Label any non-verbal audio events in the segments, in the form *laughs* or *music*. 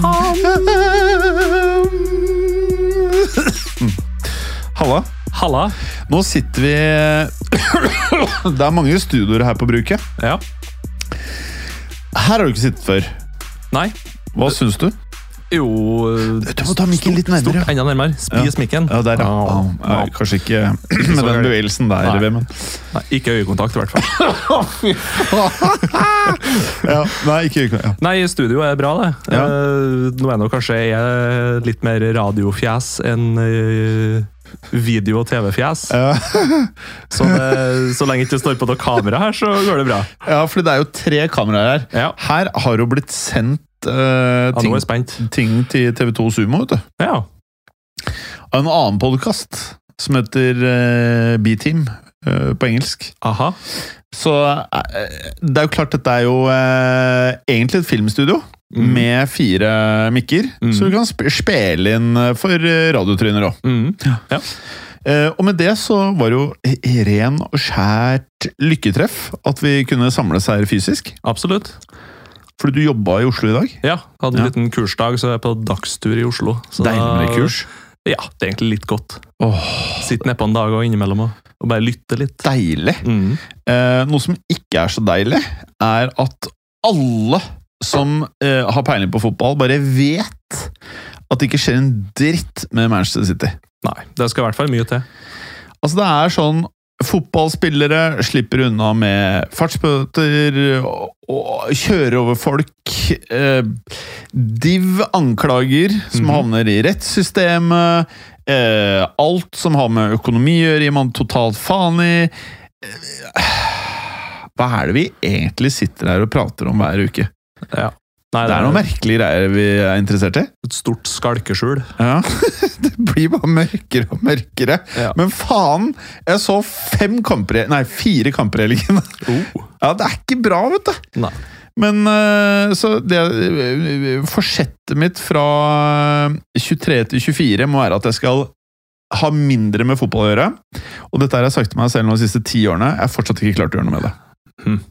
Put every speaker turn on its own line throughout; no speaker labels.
Ham
*laughs* Halla.
Halla.
Nå sitter vi *coughs* Det er mange studioer her på bruket.
Ja.
Her har du ikke sittet før.
Nei.
Hå syns du?
Jo
Du må ta mikken litt nærmere.
Enda nærmere. Spis mikken.
Ja, der, ja.
Au,
Au,
au.
Ah, nei, kanskje ikke med den bevegelsen der,
Nei.
Vemund.
Nei, ikke øyekontakt, i
*laughs*
hvert fall.
Ja, *laughs* nei, ikke ja.
Nei, studio er bra, det.
Ja.
Eh, nå er nå kanskje jeg litt mer radiofjes enn eh, video- og TV-fjes.
Ja.
Så, det- så lenge ikke det står på noe kamera her, så går det bra.
ja, for det er jo tre kameraer her.
Ja.
Her har jo blitt sendt eh,
Ja, nå
ting,
er jeg spent.
ting til TV2 Sumo, vet du.
Ja.
Av en annen podkast som heter eh, B-Team eh, på engelsk.
Aha.
Så eh, det er jo klart, dette er jo eh, egentlig et filmstudio.
Mm.
Med fire mikker,
Mm.
så du kan sp spille inn eh, for eh, radiotryner òg.
Mm. Ja.
Eh, og med det så var det jo i- i ren og skjært lykketreff at vi kunne samles her fysisk.
Absolutt.
Fordi du jobba i Oslo i dag.
Ja, hadde en
Ja.
liten kursdag, så jeg er på dagstur i Oslo. Så
Deilig med
da-
kurs.
Ja, det er egentlig litt godt.
Åh,
Sitte nedpå en dag og innimellom og, og bare lytte litt.
deilig.
Mm.
Eh, noe som ikke er så deilig, er at alle som eh, har peiling på fotball, bare vet at det ikke skjer en dritt med Manchester City.
Nei, det skal i hvert fall mye til.
Altså, det er sånn Fotballspillere slipper unna med fartsbøter og, og kjører over folk. Eh, div anklager som
Mhm.
havner i rettssystemet. Eh, alt som har med økonomi å gjøre, gir man totalt faen i. Eh, Hva er det vi egentlig sitter her og prater om hver uke?
Ja. Nei,
Det er noen merkelige greier vi er interessert i.
et stort skalkeskjul.
Ja. *laughs* det blir bare mørkere og mørkere.
Ja.
Men faen! Jeg så fem kamper i- Nei, fire kamper i helgen. *laughs* Ja, det er ikke bra, vet du.
Nei.
Men eh, så det eh, Forsettet mitt fra 23 til 24 må være at jeg skal ha mindre med fotball å gjøre. Og dette har jeg sagt til meg selv nå de siste ti årene. Jeg har fortsatt ikke klart å gjøre noe med det.
Nei,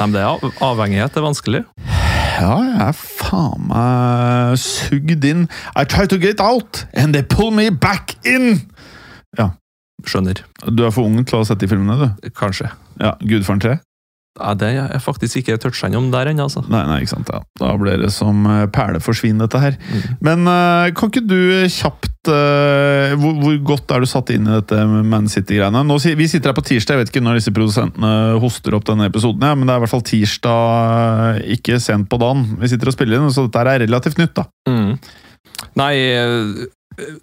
men det er av- avhengighet er vanskelig.
Ja, jeg er faen meg sugd inn. I try to get out, and they pull me back in!
Skjønner.
Du er for ung til å ha sett de filmene, du.
Kanskje.
Ja, Gudfaren 3?
Nei, det er jeg faktisk ikke toucha innom der ennå, altså.
Nei, nei, ikke sant. Ja. Da blir det som eh, perleforsvinn, dette her.
Mm.
Men eh, kan ikke du kjapt eh, hvor, hvor godt er du satt inn i dette Man City-greiene? Nå si- Vi sitter her på tirsdag, jeg vet ikke når disse produsentene hoster opp denne episoden, ja, men det er i hvert fall tirsdag, eh, ikke sent på dagen. Vi sitter og spiller inn, så dette her er relativt nytt, da.
Mm. Nei, eh,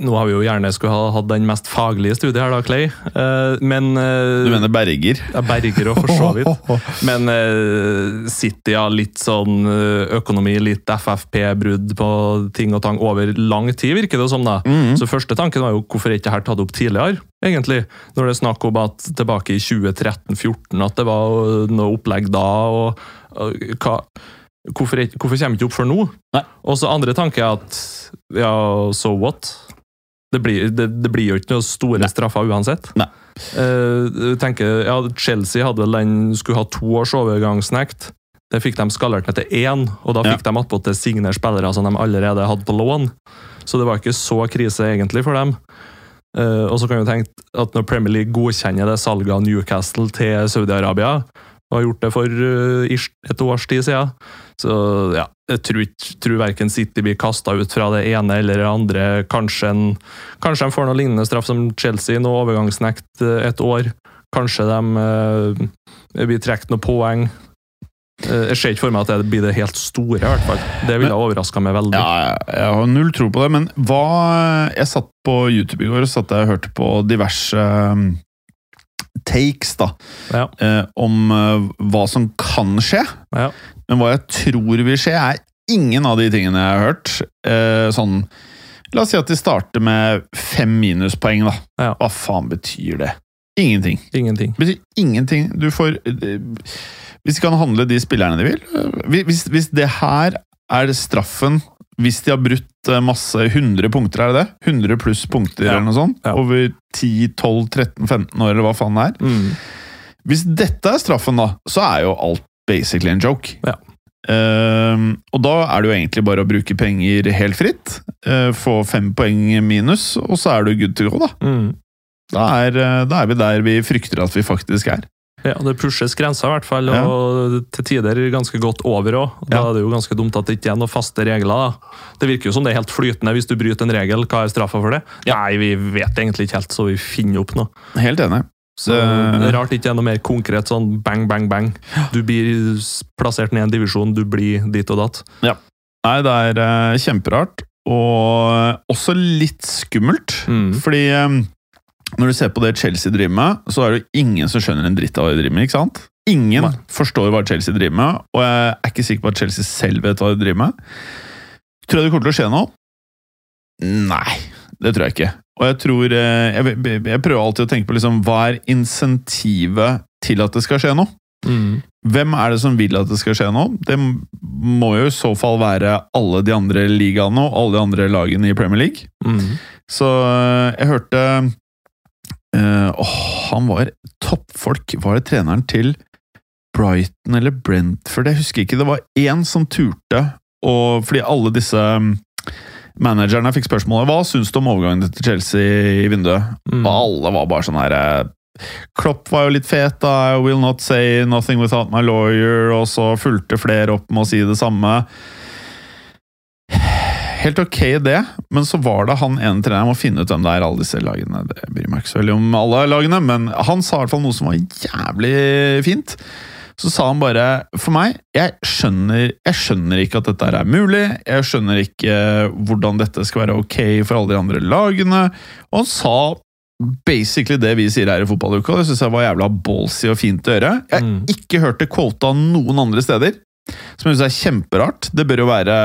nå har vi jo gjerne skulle ha hatt den mest faglige studiet her, da, Clay. Eh, Men eh,
Du mener Berger?
Jeg berger og for så vidt. *laughs* Men eh, City har litt sånn eh, økonomi, litt FFP-brudd på ting og tang over lang tid, virker det som. da.
Mm.
Så første tanken var jo hvorfor er ikke dette tatt opp tidligere, egentlig? Når det er snakk om at tilbake i 2013-2014 at det var eh, noe opplegg da, og, og hva Hvorfor, er ikke- hvorfor kommer det ikke opp før nå?
Nei.
Og så andre tanke er at ja, so what? Det blir, det, det blir jo ikke noen store straffer uansett.
Nei.
Eh, tenker, ja, Chelsea hadde vel den, skulle ha to års overgangsnekt. Det fikk de skalert ned til én, og da
Ja.
fikk de attpåtil signere spillere som de allerede hadde på lån. Så det var ikke så krise egentlig for dem. Eh, og så kan vi tenke at når Premier League godkjenner det salget av Newcastle til Saudi-Arabia, og har gjort det for eh, ish, et års tid siden, så ja, jeg tror, ikke- tror verken City blir kasta ut fra det ene eller det andre. Kanskje, en, kanskje de får noe lignende straff som Chelsea, noe overgangsnekt eh, et år. Kanskje de eh, blir trukket noen poeng. Eh, jeg ser ikke for meg at det blir det helt store, i hvert fall. Det ville overraska meg veldig.
Ja, jeg- jeg har null tro på det, men hva Jeg satt på YouTube i går og satt der og hørte på diverse um, takes da,
Ja.
eh, om eh, hva som kan skje.
Ja.
Men hva jeg tror vil skje, er ingen av de tingene jeg har hørt. Eh, sånn La oss si at de starter med fem minuspoeng, da.
Ja.
Hva faen betyr det? Ingenting.
Ingenting.
Det betyr ingenting. Du får eh, Hvis de kan handle de spillerne de vil eh, hvis- Hvis, hvis det her er straffen hvis de har brutt eh, masse 100 punkter, er det det? 100 pluss punkter
Ja.
eller noe sånt?
Ja.
Over 10, 12, 13, 15 år, eller hva faen det er.
Mm.
Hvis dette er straffen, da, så er jo alt basically en joke.
Ja.
Ehm, og da er det jo egentlig bare å bruke penger helt fritt. eh, få fem poeng minus, og så er du good to go, da.
Mm.
Da er, eh, da er vi der vi frykter at vi faktisk er.
Ja, det pushes grensa i hvert fall, og til tider ganske godt over òg. Da
Ja.
er det jo ganske dumt at det ikke er noen faste regler. da. Det virker jo som det er helt flytende hvis du bryter en regel. Hva er straffa for det? Nei, vi vet egentlig ikke helt, så vi finner opp noe.
Helt enig.
Så
Det-
det er Rart ikke er noe mer konkret sånn bang, bang, bang. Du blir s- plassert ned i en divisjon, du blir dit og datt.
Nei, det er eh, kjemperart, og eh, også litt skummelt.
Mm.
Fordi eh, når du ser på det Chelsea driver med, så er det jo ingen som skjønner en dritt av hva de driver med. ikke sant? Ingen
Nei.
forstår hva Chelsea driver med, og jeg er ikke sikker på at Chelsea selv vet hva de driver med. Tror jeg det kommer til å skje noe? Nei, det tror jeg ikke. Og jeg tror eh, Jeg, jeg prøver alltid å tenke på liksom, hva er insentivet til at det skal skje noe?
Mm.
Hvem er det som vil at det skal skje noe? Det må jo i så fall være alle de andre ligaene og alle de andre lagene i Premier League.
Mm.
Så øh, jeg hørte øh, Åh, han var toppfolk. Var det treneren til Brighton eller Brentford? Jeg husker ikke. Det var én som turte, og fordi alle disse mm, managerne fikk spørsmålet Hva syns du om overgangen til Chelsea i vinduet?
Mm.
Og alle var bare sånn her eh, Klopp var jo litt fet, da. I will not say nothing without my lawyer. Og så fulgte flere opp med å si det samme. *sighs* Helt ok, det, men så var det han ene treneren må finne ut hvem det er, alle disse lagene. Det bryr meg ikke så veldig om alle lagene, men han sa i hvert fall noe som var jævlig fint. Så sa han bare For meg, jeg skjønner, jeg skjønner ikke at dette her er mulig. Jeg skjønner ikke eh, hvordan dette skal være ok for alle de andre lagene. Og han sa basically det vi sier her i fotballuka. Det syns jeg var jævla ballsy og fint å gjøre. Jeg
Mm.
ikke hørt det quota noen andre steder. Som jeg syns er kjemperart. Det bør jo være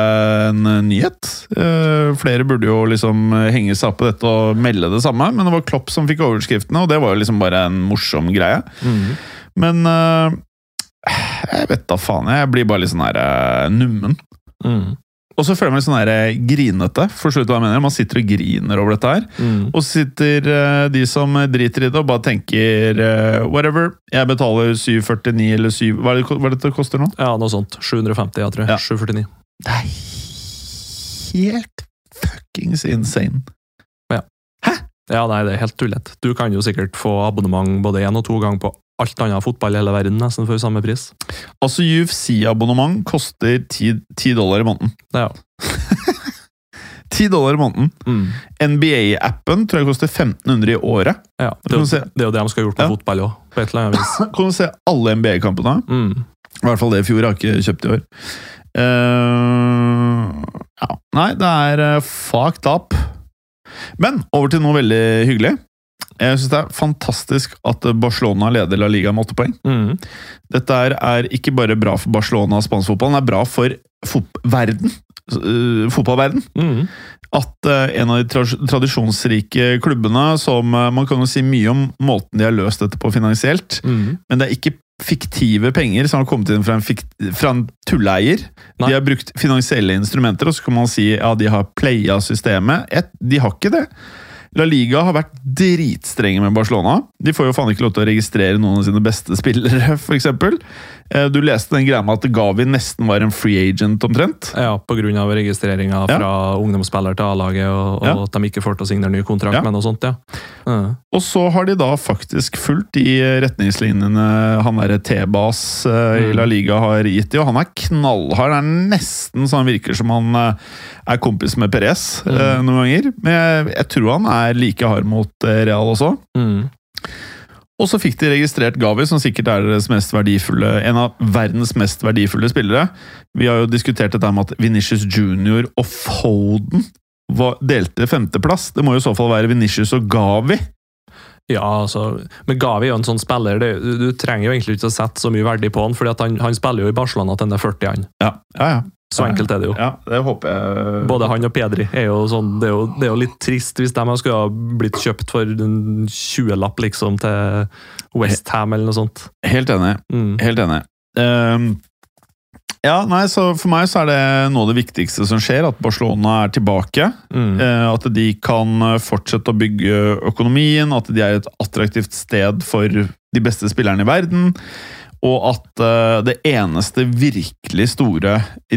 en eh, nyhet. Eh, flere burde jo liksom eh, henge seg opp på dette og melde det samme, men det var Klopp som fikk overskriftene, og det var jo liksom bare en morsom greie.
Mm.
Men eh, jeg vet da faen. Jeg blir bare litt sånn her eh, nummen.
Mm.
Og så føler jeg meg litt sånn her eh, grinete. Forstår du hva jeg mener? Man sitter og griner over dette her.
Mm.
Og så sitter eh, de som driter i det og bare tenker eh, whatever, jeg betaler 749 eller 7 Hva er det hva er det det koster nå?
Ja, noe sånt. 750, jeg tror.
Ja.
749.
Det er helt fuckings insane.
Ja, nei, det er helt tullete. Du kan jo sikkert få abonnement både én og to ganger på alt annet fotball i hele verden nesten for samme pris.
Altså, UFC-abonnement koster 10, 10 dollar i måneden. *laughs*
Ja.
10 dollar i måneden.
Mm.
NBA-appen tror jeg koster 1500 i året.
ja.
Da
Det,
kan
er
du se,
jo- det er jo det de skal ha gjort med
Ja.
fotball òg, på et eller annet vis.
kan du se alle NBA-kampene.
Mm.
I hvert fall det i fjor. Jeg har ikke kjøpt i år. Eh, ja. Nei, det er eh, fucked up. Men over til noe veldig hyggelig. Jeg syns det er fantastisk at Barcelona leder La Liga med åtte poeng.
Mm.
Dette er, er ikke bare bra for Barcelona og spansk fotball, det er bra for fot verden. Eh, fotballverden.
Mm.
At eh, en av de tra tradisjonsrike klubbene som eh, Man kan jo si mye om måten de har løst dette på finansielt
Mm.
men det er ikke fiktive penger som har kommet inn fra en, fikt, fra en tulleeier.
Nei.
De har brukt finansielle instrumenter, og så kan man si ja, de har playa systemet. Et, de har ikke det. La Liga har vært dritstrenge med Barcelona. De får jo faen ikke lov til å registrere noen av sine beste spillere, *laughs* f.eks. Du leste den greia med at Gavi nesten var en free agent, omtrent.
Ja, på grunn av registreringa
Ja.
fra ungdomsspiller til A-laget, og, og
Ja.
at de ikke får til å signere ny kontrakt
Ja.
med noe sånt, ja. Mm.
Og så har de da faktisk fulgt de retningslinjene han derre T-bas eh, i La Liga har gitt de, og han er knallhard. Det er nesten så han virker som han eh, er kompis med Perez eh, noen ganger. Men jeg, jeg tror han er like hard mot eh, Real også.
Mm.
Og så fikk de registrert Gavi, som sikkert er deres mest verdifulle, en av verdens mest verdifulle spillere. Vi har jo diskutert dette med at Vinicius Junior og Foden var, delte femteplass. Det må jo i så fall være Vinicius og Gavi.
Ja, altså, men Gavi er jo en sånn spiller. Det, du, du trenger jo egentlig ikke å sette så mye verdi på han, fordi at han, han spiller jo i Barcelona til han er 40. han.
Ja, ja, ja.
Så enkelt er det jo.
Ja, det håper jeg.
Både han og Pedri er jo sånn Det er jo, det er jo litt trist hvis de her skulle ha blitt kjøpt for en 20-lapp liksom til Westham eller noe sånt.
Helt enig.
Mm.
Helt enig. Ehm, ja, nei, så For meg så er det noe av det viktigste som skjer, at Barcelona er tilbake.
Mm.
Eh, At de kan fortsette å bygge økonomien, at de er et attraktivt sted for de beste spillerne i verden. Og at eh, det eneste virkelig store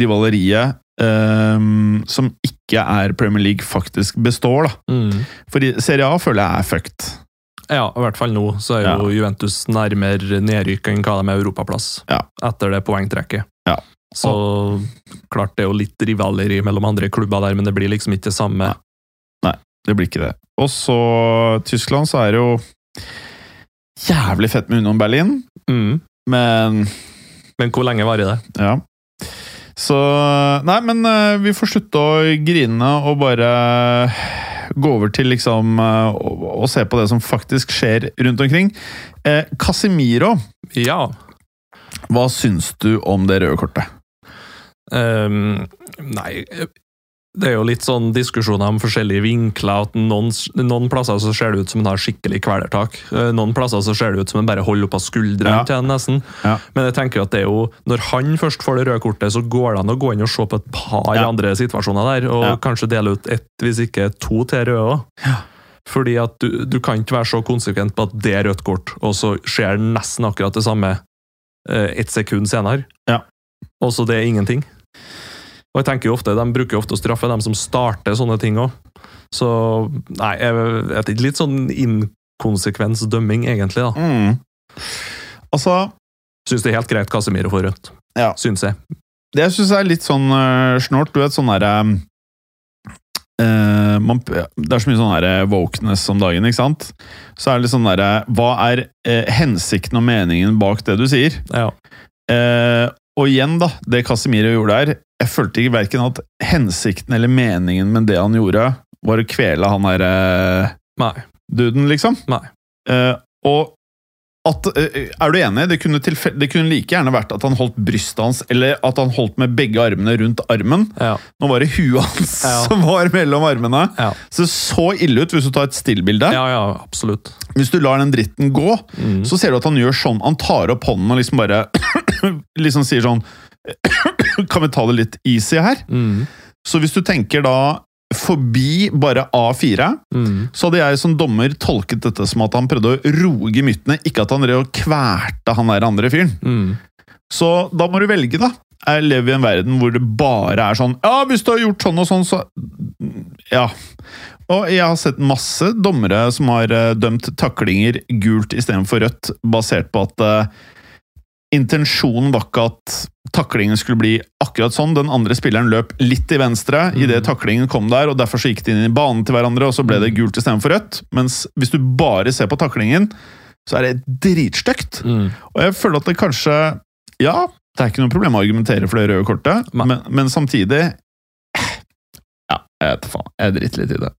rivaleriet eh, som ikke er Premier League, faktisk består. da.
Mm.
For i Serie A føler jeg er fucked.
Ja, i hvert fall nå så er jo Juventus nærmere nedrykk enn hva de er europaplass.
Ja.
Etter det poengtrekket.
Ja.
Så klart det er jo litt rivaleri mellom andre klubber der, men det blir liksom ikke det samme.
Det blir ikke det. Og så Tyskland, så er det jo jævlig fett med Union Berlin,
Mm.
men
Men hvor lenge varer det?
Ja. Så Nei, men eh, vi får slutte å grine og bare gå over til liksom eh, å, å se på det som faktisk skjer rundt omkring. Eh, Casemiro,
Ja.
hva syns du om det røde kortet?
Ehm, nei Det er jo litt sånn diskusjoner om forskjellige vinkler. at Noen, noen plasser så ser det ut som en har skikkelig kvelertak. Eh, Noen plasser så ser det ut som en bare holder opp av skuldrene
Ja.
til en, nesten.
Ja.
Men jeg tenker jo at det er jo når han først får det røde kortet, så går det an å gå inn og se på et par
Ja.
andre situasjoner der, og
Ja.
kanskje dele ut ett, hvis ikke to til røde òg. Fordi at du, du kan ikke være så konsekvent på at det er rødt kort, og så skjer nesten akkurat det samme eh, ett sekund senere.
Ja.
Og så det er ingenting. Og jeg tenker jo ofte, De bruker jo ofte å straffe dem som starter sånne ting òg. Så nei, jeg jeg vet ikke. Litt sånn inkonsekvens dømming, egentlig. da.
Mm. Altså,
Syns det er helt greit Casemiro får rødt.
Ja.
Syns jeg.
det jeg syns er litt sånn eh, snålt, du vet sånn derre eh, man, det er så mye sånn der wokeness om dagen, ikke sant? Så er det litt sånn derre Hva er eh, hensikten og meningen bak det du sier?
Ja.
Eh, og igjen, da, det Casemiro gjorde her Jeg følte ikke verken at hensikten eller meningen med det han gjorde, var å kvele han derre eh,
Nei.
duden, liksom.
Nei.
Eh, og at, eh, er du enig? Det kunne, tilfe- det kunne like gjerne vært at han holdt brystet hans, eller at han holdt med begge armene rundt armen.
Ja.
Nå var det huet hans
Ja.
*laughs* som var mellom armene.
Ja.
Så det så ille ut hvis du tar et stillbilde.
ja, ja, absolutt.
Hvis du lar den dritten gå,
Mm.
så ser du at han gjør sånn. Han tar opp hånden og liksom bare *coughs* Liksom sier sånn *coughs* Kan vi ta det litt easy her?
Mm.
Så hvis du tenker da forbi bare A4,
Mm.
så hadde jeg som dommer tolket dette som at han prøvde å roe gemyttene, ikke at han drev og kverta han der andre fyren.
Mm.
Så da må du velge, da. Jeg lever i en verden hvor det bare er sånn Ja, hvis du har gjort sånn og sånn, så Ja. Og jeg har sett masse dommere som har eh, dømt taklinger gult istedenfor rødt, basert på at eh, intensjonen var ikke at taklingen skulle bli akkurat sånn. Den andre spilleren løp litt til venstre i idet taklingen kom der, og derfor så gikk de inn i banen til hverandre, og så ble det gult istedenfor rødt. Mens hvis du bare ser på taklingen, så er det dritstygt.
Mm.
Og jeg føler at det kanskje Ja, det er ikke noe problem å argumentere for det røde kortet,
Nei.
men, men samtidig Ja, jeg vet faen. Jeg driter litt i det.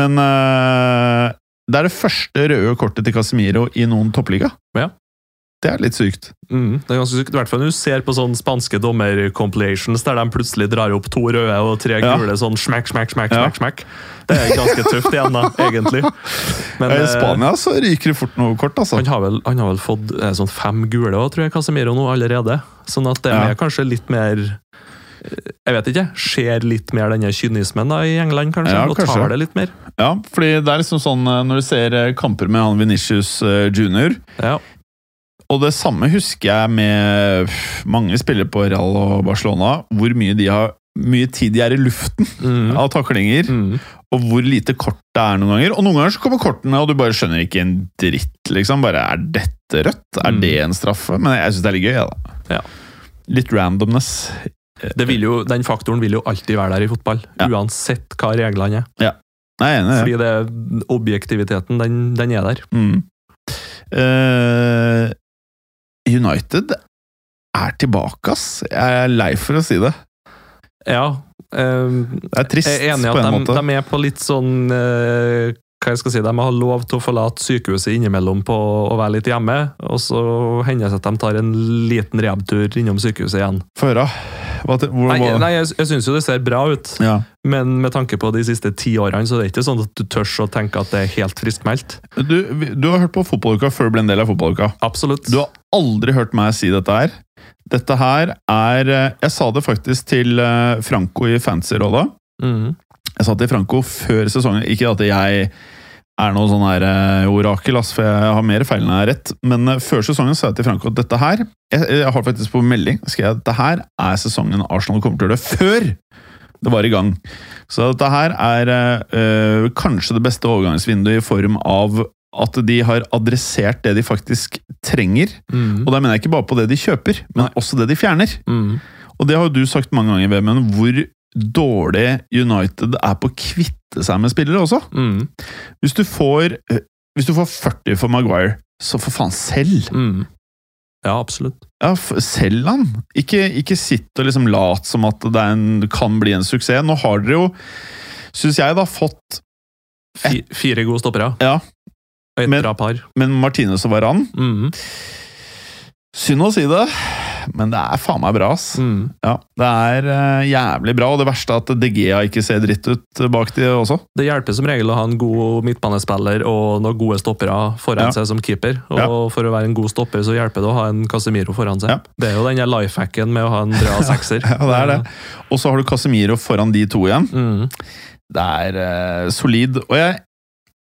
Men eh, det er det første røde kortet til Casemiro i noen toppliga.
Ja.
Det er litt sykt.
Mm. Det er ganske sykt. I hvert fall når du ser på sånne spanske dommer-compilations, der de plutselig drar opp to røde og tre
Ja.
gule sånn smekk, smekk, smekk,
Ja.
smekk, smekk. Det er ganske tøft igjen,
*laughs*
da, egentlig. Men,
I
eh,
Spania så ryker det fort noe kort, altså.
Han har vel, han har vel fått eh, sånn fem gule også, tror jeg, Casemiro nå allerede. Sånn at det
Ja.
er kanskje litt mer eh, Jeg vet ikke. Ser litt mer denne kynismen da i England, kanskje?
Ja,
og
kanskje.
tar det litt mer.
Ja, fordi det er liksom sånn eh, når du ser eh, kamper med han Venitius junior
Ja.
Og det samme husker jeg med pff, mange spillere på Real og Barcelona. Hvor mye, de har, mye tid de er i luften
Mm.
av taklinger.
Mm.
og hvor lite kort det er noen ganger. Og noen ganger så kommer kortene, og du bare skjønner ikke en dritt. liksom. Bare, Er dette rødt? Er
Mm.
det en straffe? Men jeg syns det er litt gøy. jeg, da.
Ja.
Litt randomness.
Det vil jo, den faktoren vil jo alltid være der i fotball,
Ja.
uansett hva reglene er.
Nei, jeg er enig i det.
Fordi det, objektiviteten, den, den er der.
Mm. Eh, United er tilbake, ass. Jeg er lei for å si det.
Ja. eh,
Det er trist,
Jeg er enig i
på en
at de,
måte.
de er på litt sånn eh, Hva jeg skal si, de har lov til å forlate sykehuset innimellom på å være litt hjemme, og så hender det seg at de tar en liten rehabtur innom sykehuset igjen.
Få høre. Hva, te- hvor,
Nei,
hva?
nei jeg, jeg syns jo det ser bra ut,
Ja.
men med tanke på de siste ti årene, så er det ikke sånn at du tørs å tenke at det er helt friskmeldt.
Du, vi- du har hørt på fotballuka før du ble en del av fotballuka.
Absolutt.
Du har aldri hørt meg si dette her. Dette her er eh, Jeg sa det faktisk til eh, Franco i Fancy-rådet.
Mhm.
Jeg sa til Franco før sesongen Ikke at jeg er noe sånn her eh, orakel, ass, for jeg har mer feil enn jeg har rett. Men eh, før sesongen sa jeg til Franco at dette her Jeg, jeg har faktisk på melding skrev jeg at dette her er sesongen Arsenal kommer til å gjøre før det var i gang. Så dette her er eh, eh, kanskje det beste overgangsvinduet i form av at de har adressert det de faktisk trenger.
Mhm.
Og da mener jeg ikke bare på det de kjøper, men også det de fjerner.
Mhm.
Og det har jo du sagt mange ganger, Vemund, hvor dårlig United er på å kvitte seg med spillere også.
Mhm.
Hvis du får, eh, hvis du får 40 for Maguire, så for faen selg!
Mhm. Ja, absolutt.
Ja, f- selg han! Ikke, ikke sitt og liksom lat som at det er en, kan bli en suksess. Nå har dere jo, syns jeg, da fått
Fi, fire gode stoppere.
Eh. Ja.
Og et
Men-
bra par.
Men Martinez og Varan
Mhm.
Synd å si det, men det er faen meg bra, ass.
Mhm.
Ja, Det er eh, jævlig bra, og det verste er at DGA ikke ser dritt ut eh, bak de også.
Det hjelper som regel å ha en god midtbanespiller og noen gode stoppere foran
Ja.
seg som keeper. Og
Ja.
for å være en god stopper, så hjelper det å ha en Casemiro foran seg.
Ja.
Det er jo den der lifehacken med å ha en bra sekser.
*laughs* Ja, det er det. Og så har du Casemiro foran de to igjen.
Mm.
Det er eh, solid. Og jeg,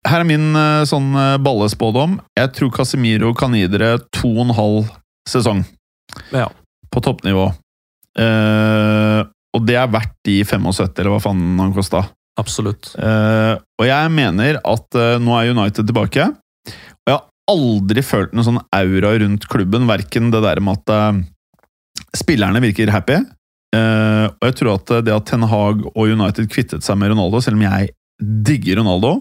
her er min eh, sånn eh, ballespådom. Jeg tror Casemiro kan gi dere to og en halv sesong
Ja.
på toppnivå. Eh, og det er verdt de 75, eller hva faen han kosta.
Absolutt.
Eh, og jeg mener at eh, nå er United tilbake. Og jeg har aldri følt noen sånn aura rundt klubben, verken det der med at eh, spillerne virker happy. eh, og jeg tror at det at Ten Hag og United kvittet seg med Ronaldo, selv om jeg digger Ronaldo,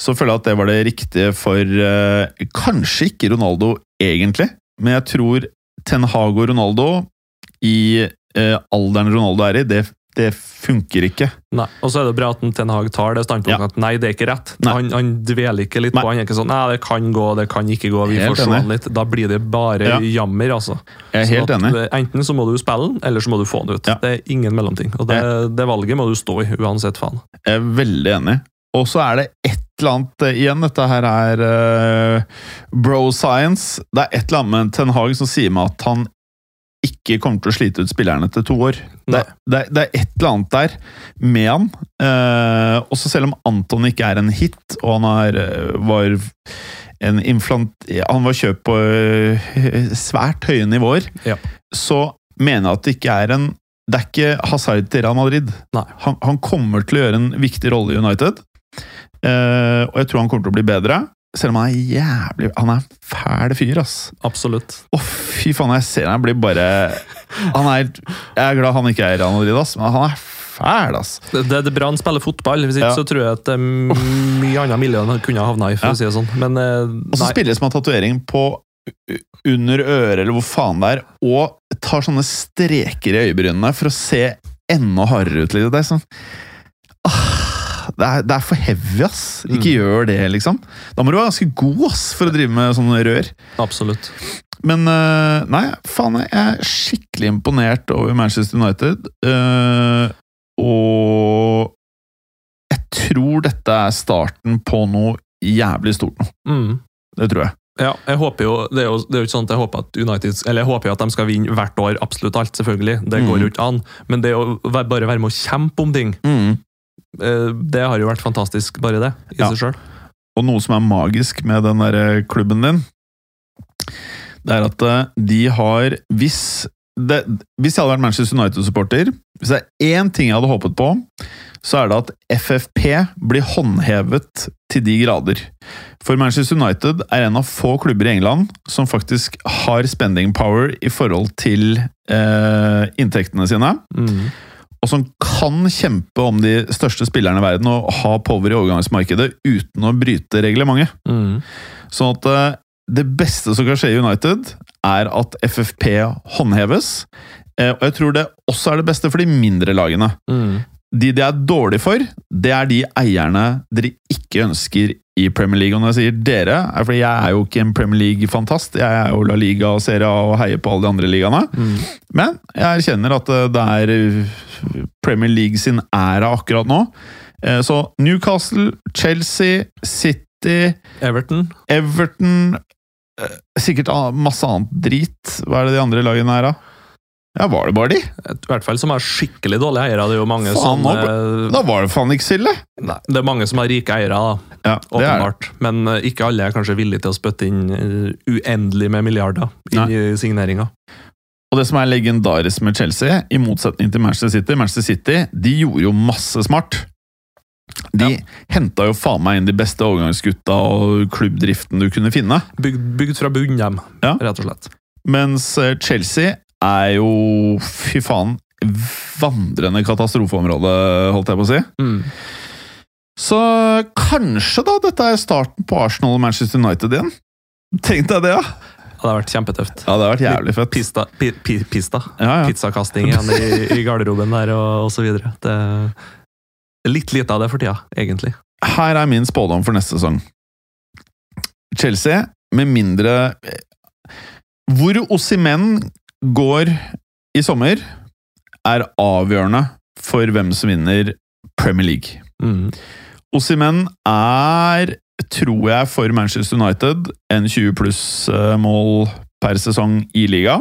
så føler jeg at det var det riktige for eh, Kanskje ikke Ronaldo, egentlig, men jeg tror Ten Hag og Ronaldo i eh, alderen Ronaldo er i, det, det funker ikke.
Nei. Og så er det bra at en Ten Hag tar det standpunktet
Ja.
at nei, det er ikke rett.
Nei.
Han, han dveler ikke litt
Nei.
på Han er ikke sånn nei, det kan gå, det kan ikke gå, vi
Helt
får se
enig.
han litt. Da blir det bare
Ja.
jammer, altså.
Jeg er
Sånn
helt
at,
enig.
eh, Enten så må du spille den, eller så må du få den ut.
Ja.
Det er ingen mellomting. Og det, det valget må du stå i, uansett faen.
Jeg er veldig enig. Og så er det et eller annet eh, igjen. Dette her er eh, bro science. Det er et eller annet med Ten Hag som sier meg at han ikke kommer til å slite ut spillerne etter to år. Det,
Nei.
det, det er et eller annet der med han. Eh, også selv om Anton ikke er en hit, og han er, eh, var en inflant... Han var kjøpt på eh, svært høye nivåer,
Ja.
så mener jeg at det ikke er en Det er ikke Hazard til Real Madrid.
Nei.
Han, han kommer til å gjøre en viktig rolle i United, eh, og jeg tror han kommer til å bli bedre. Selv om han er jævlig Han er en fæl fyr, ass.
Absolutt.
Å, fy faen, jeg ser han blir bare Han er helt Jeg er glad han ikke er Real Madrid, ass, men han er fæl, ass.
Det, det det er bra han spiller fotball, hvis ikke
Ja.
så tror jeg at det er mye annet miljø han kunne ha havna i. for
Ja.
å si det sånn. Men eh,
Og så
nei,
spiller det som en tatovering på u- under øret, eller hvor faen det er, og tar sånne streker i øyebrynene for å se enda hardere ut. Litt. Det, er sånn, ah, det, er, det er for heavy, ass. Ikke gjør det, liksom. Da må du være ganske god ass, for å drive med sånne rør.
absolutt.
Men eh, nei, faen, jeg er skikkelig imponert over Manchester United. eh, og jeg tror dette er starten på noe jævlig stort nå.
Mm.
Det tror jeg.
Ja, jeg håper jo, Det er jo det er jo ikke sånn at jeg håper at United, eller jeg håper jo at de skal vinne hvert år, absolutt alt, selvfølgelig. Det går jo ikke an. Men det å væ- bare være med å kjempe om ting, eh, det har jo vært fantastisk, bare det. i
Ja.
seg selv.
Og noe som er magisk med den der eh, klubben din, det er at eh, de har Hvis, det, hvis jeg hadde vært Manchester United-supporter, hvis det er én ting jeg hadde håpet på, så er det at FFP blir håndhevet til de grader. For Manchester United er en av få klubber i England som faktisk har spending power i forhold til eh, inntektene sine
Mm.
og som kan kjempe om de største spillerne i verden og ha power i overgangsmarkedet uten å bryte reglementet.
Mm.
Sånn at eh, det beste som kan skje i United, er at FFP håndheves. Eh, Og jeg tror det også er det beste for de mindre lagene.
Mm.
De det er dårlig for, det er de eierne dere ikke ønsker i Premier League. Og når jeg sier dere, er fordi jeg er jo ikke en Premier League-fantast. Jeg er jo La Liga og Serie A og heier på alle de andre ligaene.
Mm.
Men jeg erkjenner at eh, det er eh, Premier League sin æra akkurat nå. Eh, Så Newcastle, Chelsea, City,
Everton.
Everton eh, Sikkert an- masse annet drit. Hva er det de andre lagene er, da? Ja, var det bare de?
I hvert fall som har skikkelig dårlige eiere. Det er jo mange,
Faen,
som,
nå
eh,
Da var det faen ikke så ille!
nei, det er mange som har rike eiere, da,
Ja, det er det.
åpenbart. Men eh, ikke alle er kanskje villige til å spytte inn eh, uendelig med milliarder inn
Nei.
i signeringa.
Og det som er legendarisk med Chelsea, i motsetning til Manchester City Manchester City de gjorde jo masse smart. De henta jo faen meg inn de beste overgangsgutta og klubbdriften du kunne finne.
Bygd, bygd fra bunnen hjem,
Ja.
rett og slett.
Mens eh, Chelsea er jo, fy faen, vandrende katastrofeområde, holdt jeg på å si.
Mm.
Så kanskje da dette er starten på Arsenal og Manchester United igjen? Tenk deg det, ja!
Det hadde vært kjempetøft.
Ja, Det har vært jævlig fett.
Pista, pi, pi, pista.
Ja, ja.
Pizzakasting igjen i, i garderoben der, og, og så videre. Det det er litt lite av det for tida, egentlig.
Her er min spådom for neste sesong. Chelsea, med mindre Hvor Ossimen går i sommer, er avgjørende for hvem som vinner Premier League.
Mm.
Ossimen er, tror jeg, for Manchester United en 20 pluss eh, mål per sesong i liga.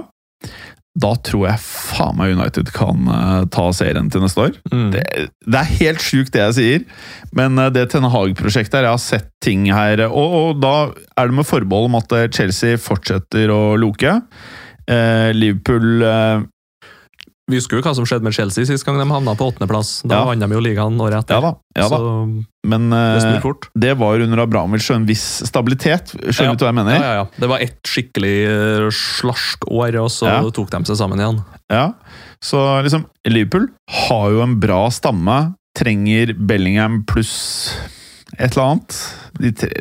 Da tror jeg faen meg United kan eh, ta serien til neste år.
Mm.
Det, det er helt sjukt det jeg sier, men eh, det Ten Hag-prosjektet her, jeg har sett ting her Og, og da er det med forbehold om at eh, Chelsea fortsetter å loke. Eh, Liverpool eh,
Vi husker jo hva som skjedde med Chelsea sist gang de havna på åttendeplass. Da
Ja.
vant de jo ligaen året
Ja
etter.
da, ja da.
Så
men
det
eh,
snur fort.
det var under Abramovic og en viss stabilitet.
Ja.
Skjønner du hva jeg mener?
Ja, ja, ja. Det var ett skikkelig eh, slaskår, og så
Ja.
tok de seg sammen igjen.
Ja, så liksom Liverpool har jo en bra stamme. Trenger Bellingham pluss et eller annet. De tre...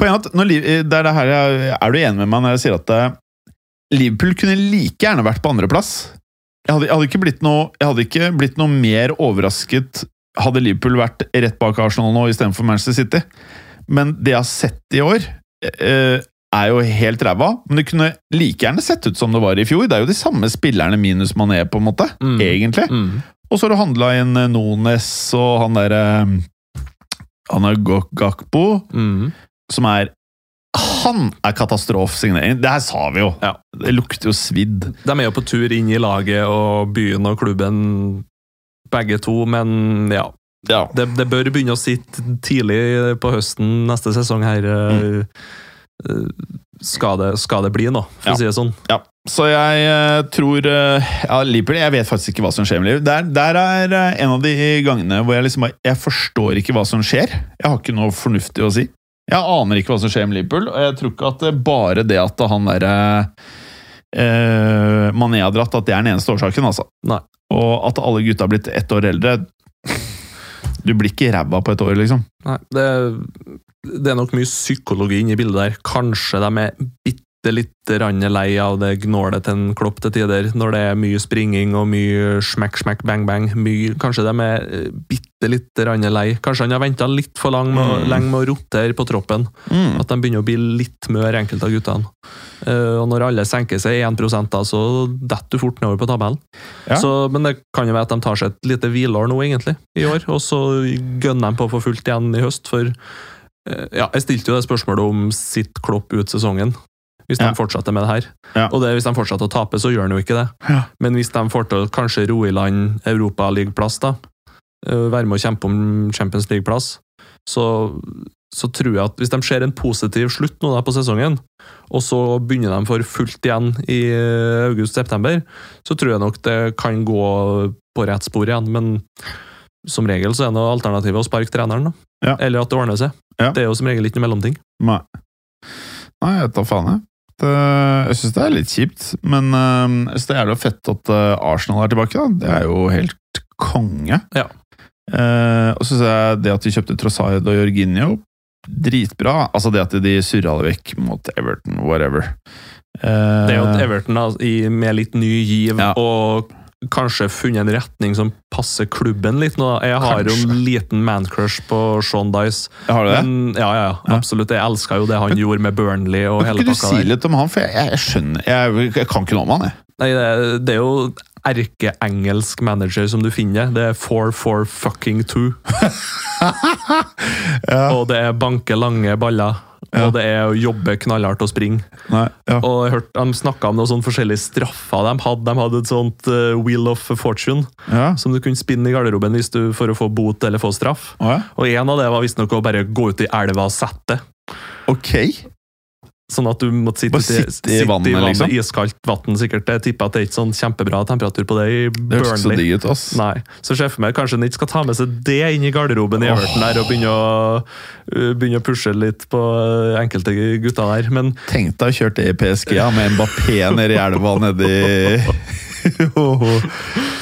Poenget er at når, Liv- det er, det her jeg, er du enig med meg når jeg sier at eh, Liverpool kunne like gjerne vært på andreplass? Jeg hadde, jeg, hadde ikke blitt noe, jeg hadde ikke blitt noe mer overrasket hadde Liverpool vært rett bak Arsenal nå istedenfor Manchester City. Men det jeg har sett i år, eh, er jo helt ræva. Men det kunne like gjerne sett ut som det var i fjor. Det er jo de samme spillerne minus Mané, på en måte.
Mm.
Egentlig.
Mm.
Og så har du handla inn eh, Nones og han derre Han er Gok- Gakpo,
Mm.
som er Han er katastrofesignering! Det her sa vi jo!
Ja.
Det lukter jo svidd.
De er jo på tur inn i laget og byen og klubben, begge to, men ja.
Ja.
Det, det bør begynne å sitte tidlig på høsten neste sesong her. eh, eh, Skal det, skal det bli noe, for
Ja.
å si det sånn.
Ja, så jeg eh, tror eh, Ja, Liverpool Jeg vet faktisk ikke hva som skjer med Liverpool. Der, der er eh, en av de gangene hvor jeg liksom bare Jeg forstår ikke hva som skjer. Jeg har ikke noe fornuftig å si. Jeg aner ikke hva som skjer med Liverpool, og jeg tror ikke at det er bare det at han derre eh, Mané har dratt, at det er den eneste årsaken, altså.
Nei.
Og at alle gutta har blitt ett år eldre Du blir ikke ræva på et år, liksom.
Nei, det, det er nok mye psykologi inne i bildet der. Kanskje de er bitte lite grann lei av det gnålet til en klopp til tider, når det er mye springing og mye smekk, smekk, bang, bang. Mye, kanskje de er eh, bitte lite grann lei. Kanskje han har venta litt for lang med, å-
Mm.
lenge med å rotere på troppen.
Mm.
At de begynner å bli litt mør, enkelte av guttene. Eh, og når alle senker seg 1 da, så detter du fort nedover på tabellen.
Ja.
Så, men det kan jo være at de tar seg et lite hvileår nå, egentlig, i år. Og så gønner de på for fullt igjen i høst, for eh, ja, jeg stilte jo det spørsmålet om sitt Klopp ut sesongen. Hvis de
Ja.
fortsetter med det her.
Ja.
Og det, hvis de fortsetter å tape, så gjør han jo ikke det.
Ja.
Men hvis de får til å kanskje roe i land Europaligaplass, da, eh, være med å kjempe om Champions League-plass, så, så tror jeg at hvis de ser en positiv slutt nå da på sesongen, og så begynner de for fullt igjen i eh, august-september, så tror jeg nok det kan gå på rett spor igjen. Men som regel så er nå alternativet å sparke treneren, da.
Ja.
Eller at det ordner seg.
Ja.
Det er jo som regel ikke noe mellomting.
Nei. Nei, jeg vet da faen, jeg. Det, jeg syns det er litt kjipt, men eh, jeg synes det er jævlig fett at eh, Arsenal er tilbake. da. Det er jo helt konge.
Ja.
Eh, og så syns jeg det at de kjøpte Trossard og Jorginho, dritbra. Altså det at de surra det vekk mot Everton, whatever. Eh,
Det er jo at Everton da, i, med litt ny giv
Ja.
og kanskje funnet en retning som passer klubben litt nå. Jeg har jo en liten man-crush på Sean Dice.
Har du det?
Men, ja, ja, ja, absolutt. Jeg elska jo det han gjorde med Burnley og
Kan
hele
ikke du
pakka
si
der.
litt om han, for jeg, jeg, jeg skjønner jeg, jeg kan ikke noe om han, jeg.
Nei, det, det er jo erkeengelsk manager som du finner. Det er 4-4 fucking 2. Og det er banke lange baller. Og det er å jobbe knallhardt og springe.
Nei, ja.
Og jeg hørte De snakka om noen sånne forskjellige straffer de hadde. De hadde et sånt eh, Wheel of Fortune
Ja.
som du kunne spinne i garderoben hvis du, for å få bot eller få straff.
Å, ja.
Og en av det var visstnok å bare gå ut i elva og sette.
Ok.
Sånn at du måtte sitte,
Bare
uti-
sitte i vannet, liksom?
Iskaldt vann, sikkert. Jeg tipper at det er ikke sånn kjempebra temperatur på det i
Det hørtes ikke så
Burnley.
digg ut, ass.
Nei, Så ser jeg for meg kanskje han ikke skal ta med seg det inn i garderoben i Everton der og begynne å, uh, begynne å pushe litt på uh, enkelte gutter der. Men
Tenk deg å kjøre til E PSG ja, med Mbappé nede i elva *laughs* nedi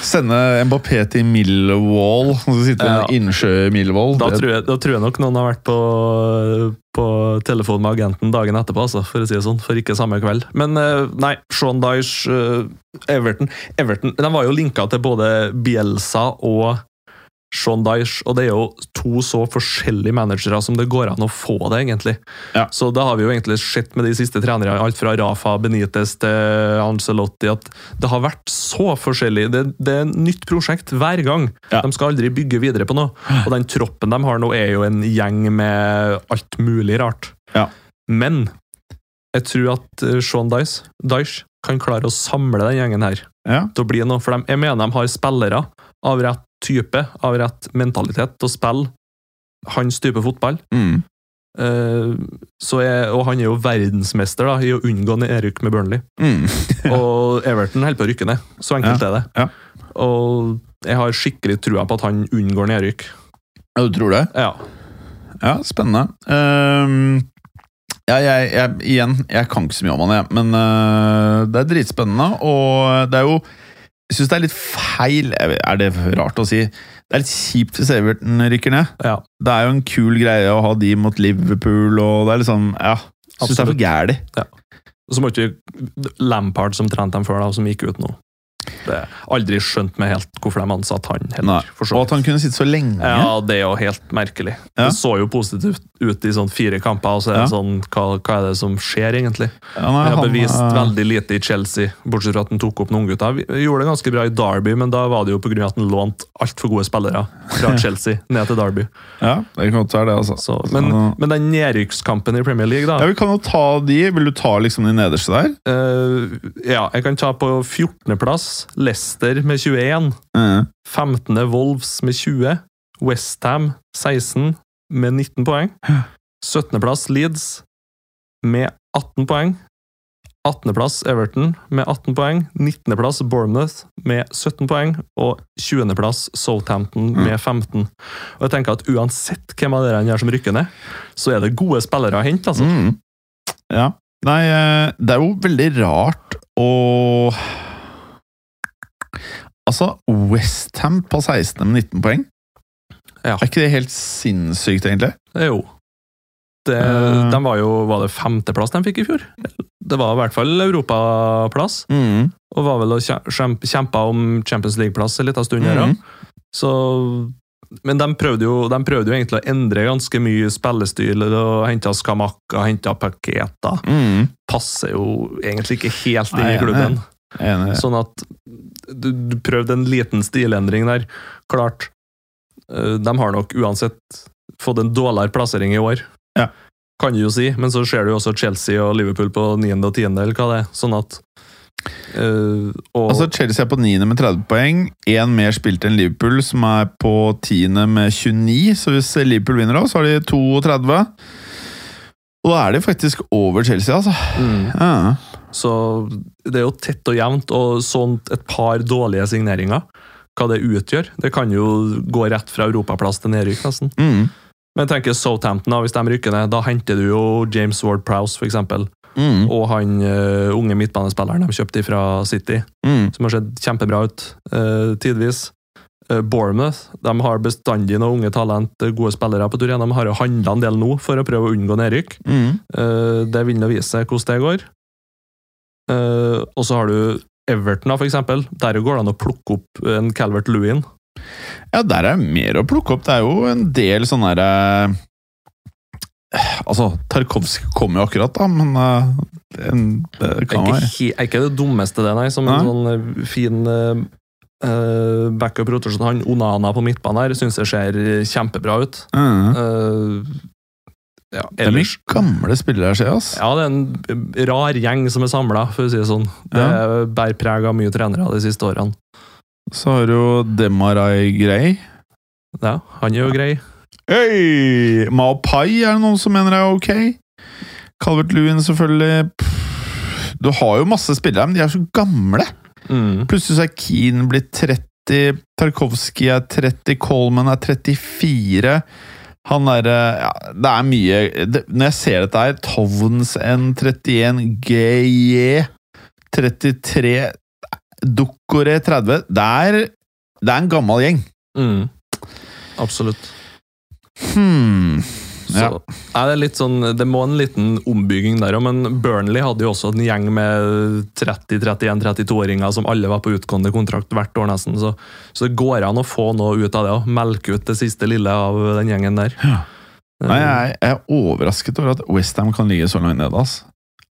Sende Mbappé til Millwall. Han skal sitte i
Ja.
en innsjø i Millwall.
da
Det-
tror, jeg, da tror jeg nok noen har vært på, på telefon med agenten dagen etterpå, altså, for å si det sånn. For ikke samme kveld. Men eh, nei, Sean Dyche, eh, Everton Everton de var jo linka til både Bielsa og Sean Dyche, og det er jo to så forskjellige managere som det går an å få det, egentlig.
Ja.
Så da har vi jo egentlig sett med de siste trenerne, alt fra Rafa Benitez til Ancelotti, at det har vært så forskjellig. Det, det er et nytt prosjekt hver gang.
Ja.
De skal aldri bygge videre på noe. Og den troppen de har nå, er jo en gjeng med alt mulig rart.
Ja.
Men jeg tror at eh, Sean Dyche, Dyche kan klare å samle den gjengen her
Ja.
til å bli noe. For de, jeg mener de har spillere av rett type, av rett mentalitet til å spille hans type fotball.
Mm.
Eh, så jeg, og han er jo verdensmester da, i å unngå nedrykk med Burnley.
Mm.
Og Everton holder på å rykke ned. Så enkelt er det. Og jeg har skikkelig trua på at han unngår nedrykk.
Ja, du tror det?
Ja.
Ja, spennende. Ehm, ja, jeg, jeg, igjen, jeg kan ikke så mye om han, jeg. Men eh, det er dritspennende, og det er jo Jeg syns det er litt feil jeg vet- Er det rart å si? Det er litt kjipt hvis Everton rykker ned.
ja.
Det er jo en kul greie å ha de mot Liverpool, og det er liksom Ja. jeg Syns det er
Absolutt.
for gæli.
Og så må ikke Lampard, som trente dem før, da, som gikk ut nå det, Aldri skjønt meg helt hvorfor de ansatte han
Nei.
heller. for så
Og
vidt.
at han kunne sitte så lenge.
Ja, det er jo helt merkelig.
Ja.
Det så jo positivt ut i sånn fire kamper, og så er det
Ja.
sånn hva, hva er det som skjer, egentlig?
Ja, nei,
Han har
han,
bevist
eh,
veldig lite i Chelsea, bortsett fra at han tok opp noen gutter. Vi- Gjorde det ganske bra i Derby, men da var det jo pga. at han lånte altfor gode spillere
*laughs*
fra Chelsea ned til Derby.
Ja, det kan godt være det, altså.
Så, men,
Så-
men den nedrykkskampen i Premier League, da
ja, Vi kan jo ta de. Vil du ta liksom de nederste der?
eh, Ja, jeg kan ta på 14.-plass Leicester med 21.
Mm.
15. Wolves med 20. Westham 16 med 19 poeng. 17. plass Leeds med 18 poeng. 18. plass Everton med 18 poeng. 19. plass Bournemouth med 17 poeng. Og 20. plass Southampton med 15. Og jeg tenker at uansett hvem av dere her som rykker ned, så er det gode spillere å hente. altså.
Mm. Ja. Nei, eh, det er jo veldig rart å Altså, Westham på 16 med 19 poeng.
Ja.
Er ikke det helt sinnssykt, egentlig?
Det er Jo. Det,
Eh.
De var jo Var det femteplass de fikk i fjor? Det var i hvert fall europaplass.
Mm.
Og var vel og kjem- kjem- kjempa om Champions League-plass en liten stund. her
Mhm.
også. Så, men de prøvde, jo, de prøvde jo egentlig å endre ganske mye spillestil. og Henta skamakka, henta paketa.
Mm.
Passer jo egentlig ikke helt inn
Nei,
i klubben.
Jeg er Enig.
Sånn at du, du prøvde en liten stilendring der. Klart, eh, de har nok uansett fått en dårligere plassering i år.
Ja.
Kan du jo si, men så ser du jo også Chelsea og Liverpool på 9. og 10., eller hva det er. Sånn at eh, og,
Altså, Chelsea er på 9. med 30 poeng. Én mer spilt enn Liverpool, som er på 10. med 29. Så hvis Liverpool vinner, da, så har de 32. Og da er de faktisk over Chelsea, altså.
mm,
Ja.
Så det er jo tett og jevnt, og sånt et par dårlige signeringer. Hva det utgjør. Det kan jo gå rett fra europaplass til nedrykk, nesten.
Mm.
Men jeg tenker Southampton, da, hvis de rykker ned, da henter du jo James Ward Prowse, for eksempel.
Mm.
Og han eh, unge midtbanespilleren de kjøpte fra City,
Mm.
som har sett kjempebra ut uh, tidvis. Eh, Bournemouth de har bestandig noen unge talent, eh, gode spillere på tur igjen. De har jo handla en del nå for å prøve å unngå nedrykk.
Mm.
Eh, det vil nå vise seg hvordan det går. Eh, og så har du Everton, da, for eksempel, der går det an å plukke opp en Calvert Lewin.
Ja, der er mer å plukke opp. Det er jo en del sånne derre Altså, Tarkovskij kom jo akkurat, da, men eh, en, det
Det er
kan
ikke,
være
he- er ikke det dummeste, det, nei. Som en sånn eh, fin eh, eh, backup rotasjon. Han Onana på midtbanen her syns jeg ser eh, kjempebra ut.
Mhm.
Eh, ja,
Det er
ellers
mye gamle spillere altså. her, ser jeg. ass.
Ja, det er en rar gjeng som er samla, for å si det sånn. Det bærer preg av mye trenere de siste årene.
Så har du jo Demarai Grey.
Ja, han er jo grei.
Hey! Mao Pai er det noen som mener er ok. Calvert Lewin, selvfølgelig. Pff, Du har jo masse spillere, men de er så gamle.
Mm.
Plutselig så er Keane blitt 30, Tarkovskij er 30, Coleman er 34. Han er eh, ja, Det er mye det, Når jeg ser dette her, Tovens N31, GJ 33, Dokore 30 Det er, det er en gammel gjeng.
Mm. Absolutt.
Hmm.
Så
Ja.
er det litt sånn Det må en liten ombygging der òg, men Burnley hadde jo også en gjeng med 30-31-32-åringer som alle var på utgående kontrakt hvert år, nesten. Så, så det går an å få noe ut av det òg. Melke ut det siste lille av den gjengen der.
Nei, jeg, er- jeg er overrasket over at Westham kan ligge så langt nede. Altså.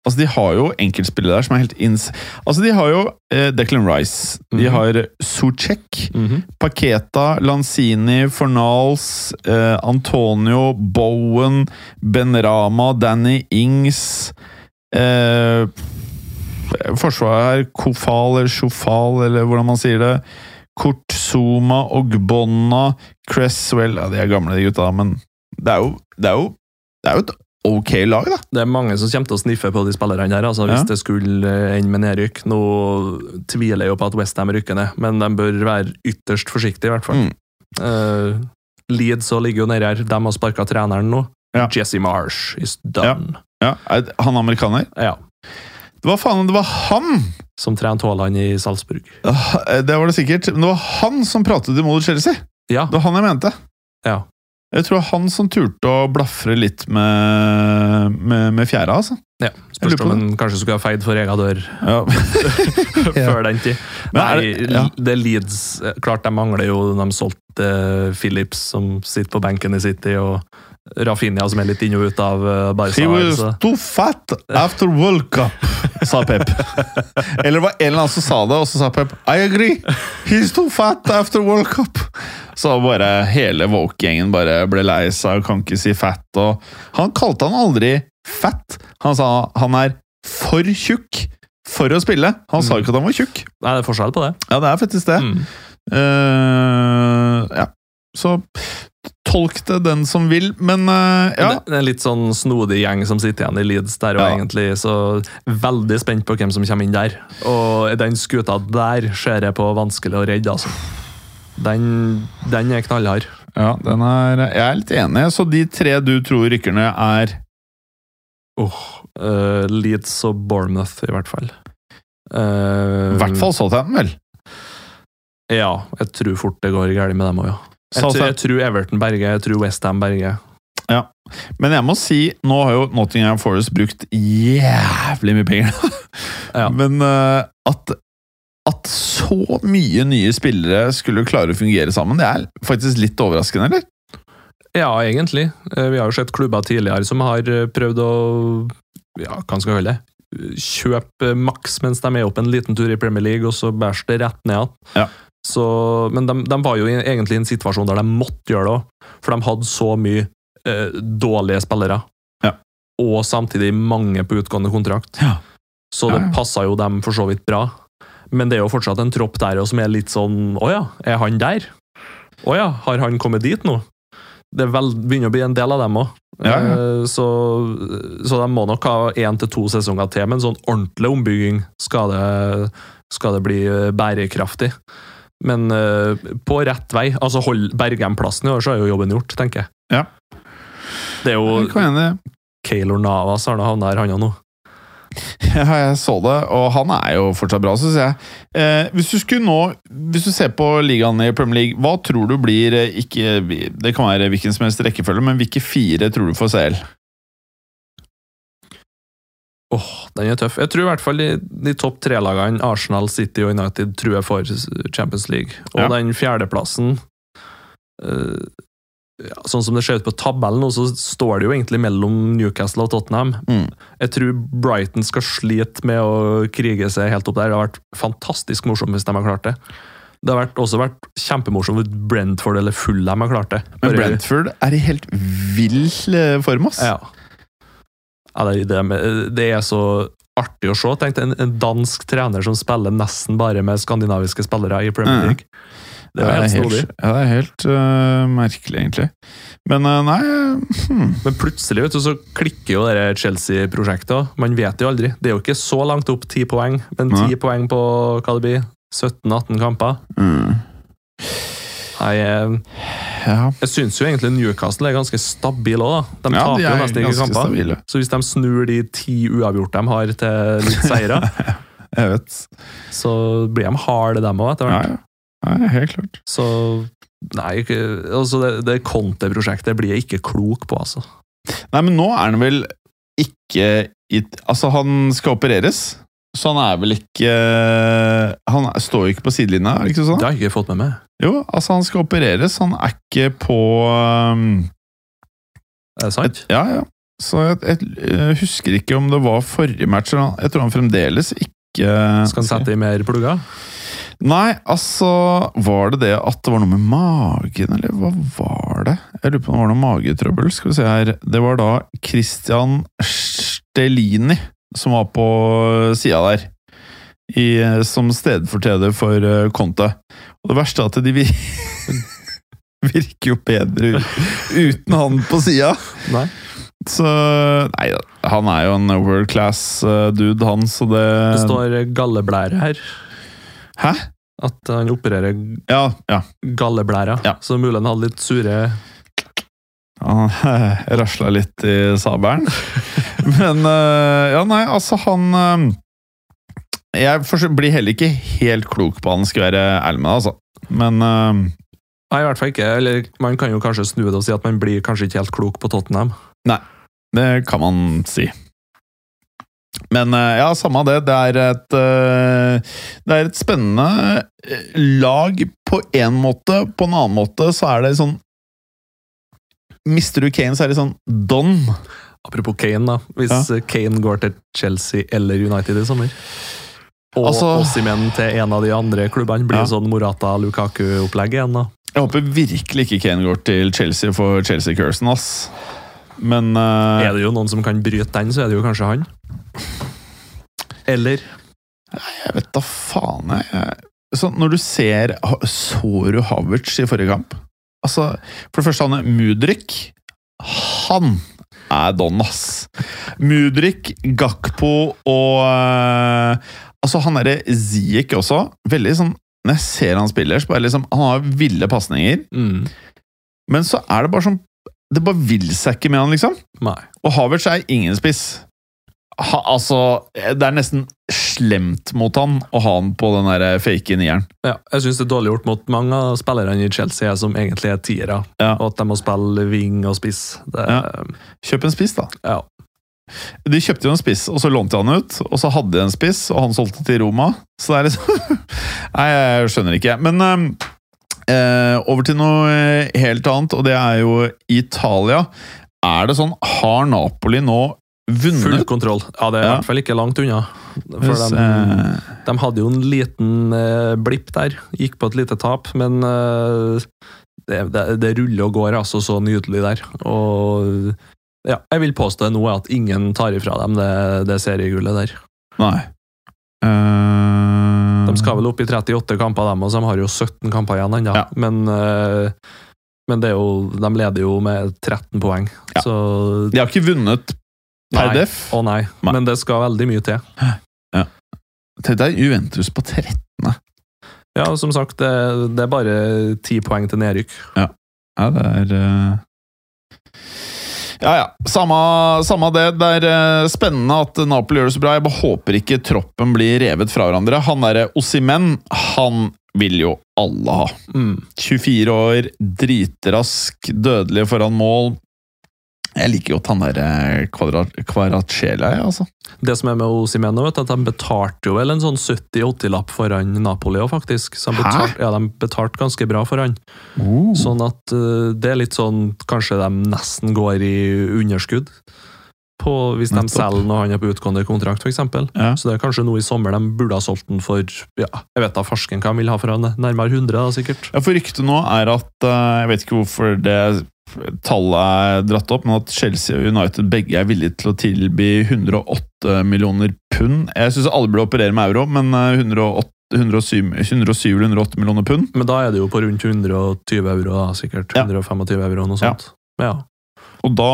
Altså, de har jo enkeltspillere der som er helt ins... Altså, de har jo eh, Declan Rice, de
Mhm.
har Suchek,
Mhm.
Paketa, Lanzini, Fornals, eh, Antonio, Bowen, Ben Rama, Danny Ings eh, Forsvaret her, Kofal eller Sjofal, eller hvordan man sier det. Kurt Zuma, Ogbonna, Cresswell Ja, de er gamle, de gutta, men det er jo, det er jo, det er jo et ok lag, da.
Det er mange som kommer til å sniffe på de spillerne her, altså, hvis
Ja.
det skulle eh, ende med nedrykk. Nå tviler jeg jo på at Westham rykker ned, men de bør være ytterst forsiktige, i hvert fall.
Mm.
Eh, Leeds også ligger jo nedi her. De har sparka treneren nå.
Ja.
Jesse Marsh is done.
Ja, er det- han amerikaner?
Ja.
Det var faen, det var han!
Som trente Haaland i Salzburg.
Ah, Det var det sikkert. Men det var han som pratet imot Chelsea!
Ja.
Det var han jeg mente.
Ja.
Jeg tror det var han som turte å blafre litt med, med, med fjæra, altså.
Spørs
Jeg lurer på
om han kanskje skulle ha feid for egen dør
Ja.
før den tid.
Men er
Nei,
det- ja.
det Leeds eh, Klart de mangler jo De solgte eh, Phillips, som sitter på benken i City, og Rafinha, som er litt inn og ut av eh,
*laughs*
Barca.
He was
så-
too fat after World Cup, *laughs* sa Pep. Eller det var en eller annen som sa det, og så sa Pep I agree! He's too fat after World Cup! Så bare hele Woke-gjengen bare ble lei seg og kan ikke si fat. Og han kalte han aldri fat. Han sa han er for tjukk for å spille. Han sa
Mm.
ikke at han var tjukk.
Nei, det er forskjell på det.
Ja, det er faktisk det.
Mm.
Eh, ja. Så tolk det den som vil, men eh, ja.
Det, det er en litt sånn snodig gjeng som sitter igjen i Leeds der, og
Ja.
egentlig så veldig spent på hvem som kommer inn der. Og den skuta der ser jeg på vanskelig å redde, altså. Den, den er knallhard.
ja den er, jeg er litt enig. Så de tre du tror rykker ned, er
Eh, Leeds og Bournemouth, i hvert fall.
i
Uh,
hvert fall Southampton, vel?
Ja, jeg tror fort det går galt med dem òg, ja. Jeg, tror- jeg
Southampton.
tror Everton berger, jeg tror Westham berger.
Men jeg må si, nå har jo Nottingham Forest brukt jævlig mye penger,
Ja.
men eh, at at så mye nye spillere skulle klare å fungere sammen, det er faktisk litt overraskende, eller?
Ja, egentlig. Eh, Vi har jo sett klubber tidligere som har eh, prøvd å ja, hva skal jeg kalle det? Kjøpe maks mens de er oppe en liten tur i Premier League, og så bæsjer det rett ned igjen.
Ja.
Så- Men de, de var jo i- egentlig i en situasjon der de måtte gjøre det òg, for de hadde så mye eh, dårlige spillere.
Ja.
Og samtidig mange på utgående kontrakt.
Ja.
Så det
Ja, ja.
passa jo dem for så vidt bra. Men det er jo fortsatt en tropp der også som er litt sånn Å ja, er han der? Å ja, har han kommet dit nå? Det er vel, begynner å bli en del av dem òg.
Ja, ja.
Så, så de må nok ha én til to sesonger til, men sånn ordentlig ombygging skal det, skal det bli eh, bærekraftig. Men eh, på rett vei. Altså hold Bergheim-plassen i år, så er jo jobben gjort, tenker jeg.
Ja.
Det er
Jeg
jo
kan være enig.
Keylor Navas har nå havna her, han òg nå.
*laughs* Ja, jeg så det, og han er jo fortsatt bra, syns jeg. Eh, hvis du skulle nå, hvis du ser på ligaen i Premier League, hva tror du blir eh, ikke, Det kan være hvilken som helst rekkefølge, men hvilke fire tror du får CL?
Åh, den er tøff. Jeg tror i hvert fall de, de topp tre lagene, Arsenal, City og United, tror jeg får Champions League. Og
Ja.
den fjerdeplassen eh, ja, Sånn som det ser ut på tabellen nå, så står det jo egentlig mellom Newcastle og Tottenham.
Mm.
Jeg tror Brighton skal slite med å krige seg helt opp der. Det har vært fantastisk morsomt hvis de har klart det. Det har vært, også vært kjempemorsomt hvis Brentford eller Fulham har klart det.
Men
Bare-
Brentford er i helt vill eh, form, ass.
ja. ja det, er det, med- det er så artig å se. Tenk deg en, en dansk trener som spiller nesten bare med skandinaviske spillere i Premier
Mhm.
League. Det er jo helt snodig.
Ja, det er helt eh, merkelig, egentlig. Men eh, nei eh, hmm.
Men plutselig vet du, så klikker jo det der Chelsea-prosjektet. også. Man vet jo aldri. Det er jo ikke så langt opp ti poeng, men
Nei.
ti poeng på hva det blir? 17-18 kamper.
Mm.
Nei, eh,
Ja,
jeg syns jo egentlig Newcastle er ganske stabile òg. De
ja
taper
de
jo
er
nesten ikke
ganske
kamper.
stabile.
Så hvis de snur de ti uavgjort de har, til
*laughs*
litt seire,
Jeg vet.
så blir de harde, dem òg, etter
Ja,
hvert.
ja. Nei, helt klart.
Så Nei, ikke, altså det, det Conte-prosjektet blir jeg ikke klok på, altså.
Nei, men nå er han vel ikke i Altså, han skal opereres, så han er vel ikke eh, Han står jo ikke på sidelinja, er det ikke sånn?
Det har jeg ikke fått med meg.
Jo, altså, han skal opereres, han er ikke på um,
Er det sant?
Ja, ja. Så jeg, jeg, eh, husker ikke om det var forrige match eller noe. Jeg tror han fremdeles ikke
Skal han sette i mer plugger?
Nei, altså Var det det at det var noe med magen, eller hva var det? Jeg lurer på om det var noe magetrøbbel. Skal vi se her Det var da Christian Stelini som var på sida der. I, som stedfortreder for eh, Conte. Og det verste er at de vir *laughs* virker jo bedre u- uten han på sida.
Nei.
Så Nei da, han er jo en world class eh, dude, han, så det
Det står galleblære her.
Hæ?
At han opererer
Ja, ja.
galleblæra.
Ja.
Så mulig han hadde litt sure
Han *laughs* rasla litt i sabelen. *laughs* Men eh, Ja, nei, altså, han eh, Jeg forsø- blir heller ikke helt klok på han, skal jeg være ærlig med deg, altså. Men eh,
Nei, i hvert fall ikke. Eller man kan jo kanskje snu det og si at man blir kanskje ikke helt klok på Tottenham.
det kan man si. Men eh, ja, samme det. Det er et eh, Det er et spennende eh, lag på én måte. På en annen måte så er det sånn Mister du Kane, så er det sånn don.
Apropos Kane, da. Hvis eh, Kane går til Chelsea eller United i sommer og
Altså-
Osimhen til en av de andre klubbene blir
Ja.
jo sånn Morata-Lukaku-opplegg igjen. da.
Jeg håper virkelig ikke Kane går til Chelsea for Chelsea Cursen, ass. Men eh,
Er det jo noen som kan bryte den, så er det jo kanskje han. Eller
jeg vet da faen jeg. jeg- Så når du ser ha- Så du Havertz i forrige kamp? Altså, for det første, han er Mudrik. Han er don, ass. Mudrik, Gakpo og eh, Altså, han derre Ziek også. Veldig sånn Når jeg ser han spiller, så bare liksom Han har ville pasninger,
mm,
men så er det bare sånn Det bare vil seg ikke med han, liksom.
Nei.
Og Havertz er ingen spiss. Ha, altså, det er nesten slemt mot han å ha han på den der fake nieren.
Ja, jeg syns det er dårlig gjort mot mange av spillerne i Chelsea er som egentlig er tiere,
Ja.
og at de må spille wing og spiss. Det, ja.
Kjøp en spiss, da.
Ja.
De kjøpte jo en spiss, og så lånte de han ut. Og så hadde de en spiss, og han solgte til Roma. Så det er liksom *laughs* Nei, jeg skjønner ikke. Men eh, eh, over til noe eh, helt annet, og det er jo Italia. Er det sånn Har Napoli nå
Full
vunnet?
kontroll. Ja, det er i
Ja.
hvert fall ikke langt unna. For
Hvis,
de,
eh,
de hadde jo en liten eh, blipp der. Gikk på et lite tap, men eh, det, det, det ruller og går altså så nydelig der. Og ja, jeg vil påstå nå at ingen tar ifra dem det, det seriegullet der.
Nei. Eh,
De skal vel opp i 38 kamper, dem, og så de har jo 17 kamper igjen ennå.
Ja.
Men, eh, men det er jo, de leder jo med 13 poeng,
Ja.
så
De har ikke vunnet per
Nei.
def.
Å nei.
Nei.
Men det skal veldig mye til.
Tenk deg Juventus på 13.
Ja, og som sagt, det, det er bare 10 poeng til nedrykk.
Ja, det er eh, Ja, ja. Samme, samme det. Det er eh, spennende at Napoli gjør det så bra. Jeg bare håper ikke troppen blir revet fra hverandre. Han derre Ossimen, han vil jo alle ha.
Mm.
24 år, dritrask, dødelig foran mål. Jeg liker godt han der Kvaratskhelia, jeg, altså.
Det som er med Osimhen, nå, vet du, at de betalte jo vel en sånn 70-80-lapp for han Napoli òg, faktisk. Så de
Hæ?
betalte, ja, de betalte ganske bra for han.
Oh.
Sånn at eh, det er litt sånn Kanskje de nesten går i underskudd på, hvis de
Nettopp.
selger når han er på utgående kontrakt, f.eks.
Ja.
Så det er kanskje nå i sommer de burde ha solgt den for ja, jeg vet da farsken hva de vil ha for han, nærmere 100, da, sikkert.
Ja, for ryktet nå er at eh, Jeg vet ikke hvorfor det tallet er dratt opp, men at Chelsea og United begge er villige til å tilby 108 millioner pund. Jeg syns alle burde operere med euro, men eh, 108, 107, 107 eller 108 millioner pund
Men da er det jo på rundt 120 euro, da, sikkert.
Ja.
125 euro, noe sånt. Ja, ja,
Og da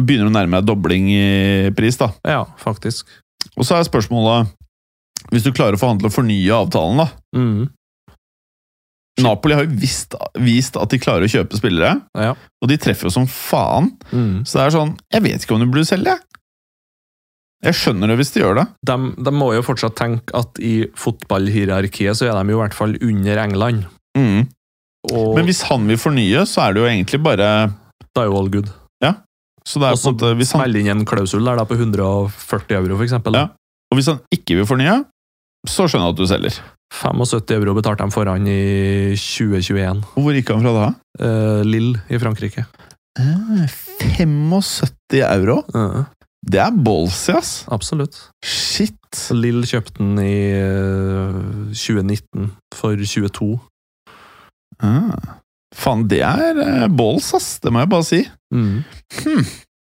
begynner det å nærme deg dobling i pris, da.
faktisk.
Og så er spørsmålet Hvis du klarer å forhandle og fornye avtalen, da.
Mm,
Napoli har jo visst, vist at de klarer å kjøpe spillere,
ja.
og de treffer jo som faen.
Mm.
Så det er sånn Jeg vet ikke om du burde selge, jeg. Jeg skjønner det hvis de gjør det.
de, de må jo fortsatt tenke at i fotballhierarkiet så er de jo i hvert fall under England.
Mm.
Og
Men hvis han vil fornye, så er det jo egentlig bare
da er jo all good.
så det er
Og
på
så
en måte, hvis han,
Meld inn en klausul der da på 140 euro, for eksempel.
Ja. Og hvis han ikke vil fornye, så skjønner jeg at du selger.
75 euro betalte de for han i 2021.
Og hvor gikk han fra da?
Eh, Lille i Frankrike.
Eh, 75 euro?
Eh,
Det er ballsy, ass!
absolutt.
Shit!
Lille kjøpte den i eh, 2019 for 22.
Ah. Faen, det er eh, balls, ass! Det må jeg bare si.
Mm.
Hmm.